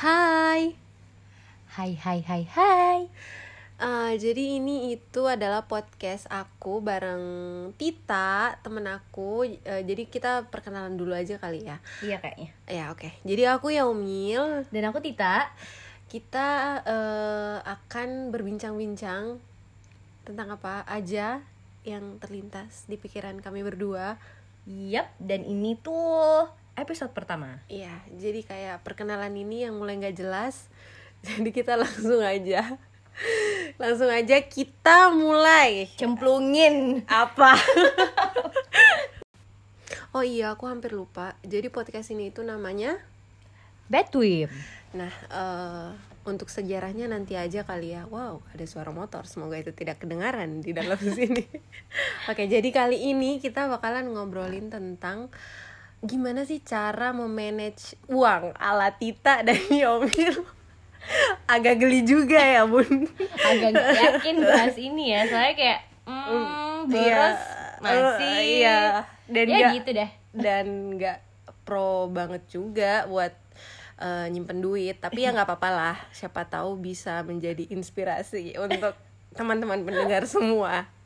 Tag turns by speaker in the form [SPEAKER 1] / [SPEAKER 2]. [SPEAKER 1] Hai.
[SPEAKER 2] Hai hai hai hai.
[SPEAKER 1] Eh, jadi ini itu adalah podcast aku bareng Tita, temen aku. Eh, jadi kita perkenalan dulu aja kali ya.
[SPEAKER 2] Iya kayaknya.
[SPEAKER 1] Ya, oke. Jadi aku Yaumil,
[SPEAKER 2] Dan aku Tita.
[SPEAKER 1] kita eh, akan berbincang-bincang tentang apa aja yang terlintas di pikiran kami berdua.
[SPEAKER 2] Yap, dan ini tuh episode pertama.
[SPEAKER 1] Iya, jadi kayak perkenalan ini yang mulai nggak jelas. Jadi kita langsung aja. Langsung aja kita mulai.
[SPEAKER 2] Cemplungin.
[SPEAKER 1] apa oh iya aku hampir lupa jadi podcast ini itu namanya
[SPEAKER 2] Betwim.
[SPEAKER 1] nah eh, untuk sejarahnya nanti aja kali ya wow ada suara motor semoga itu tidak kedengaran di dalam sini oke jadi kali ini kita bakalan ngobrolin tentang gimana sih cara memanage uang ala Tita dan Yomil agak geli juga ya bun
[SPEAKER 2] Agak nggak yakin bahas ini ya, soalnya kayak hmm, boros
[SPEAKER 1] Iya.
[SPEAKER 2] masih.
[SPEAKER 1] Eh, iya. Dan
[SPEAKER 2] ya
[SPEAKER 1] nggak-
[SPEAKER 2] gitu deh.
[SPEAKER 1] dan nggak pro banget juga buat eh, nyimpen duit tapi ya nggak apa-apa lah siapa tahu bisa menjadi inspirasi untuk teman-teman pendengar semua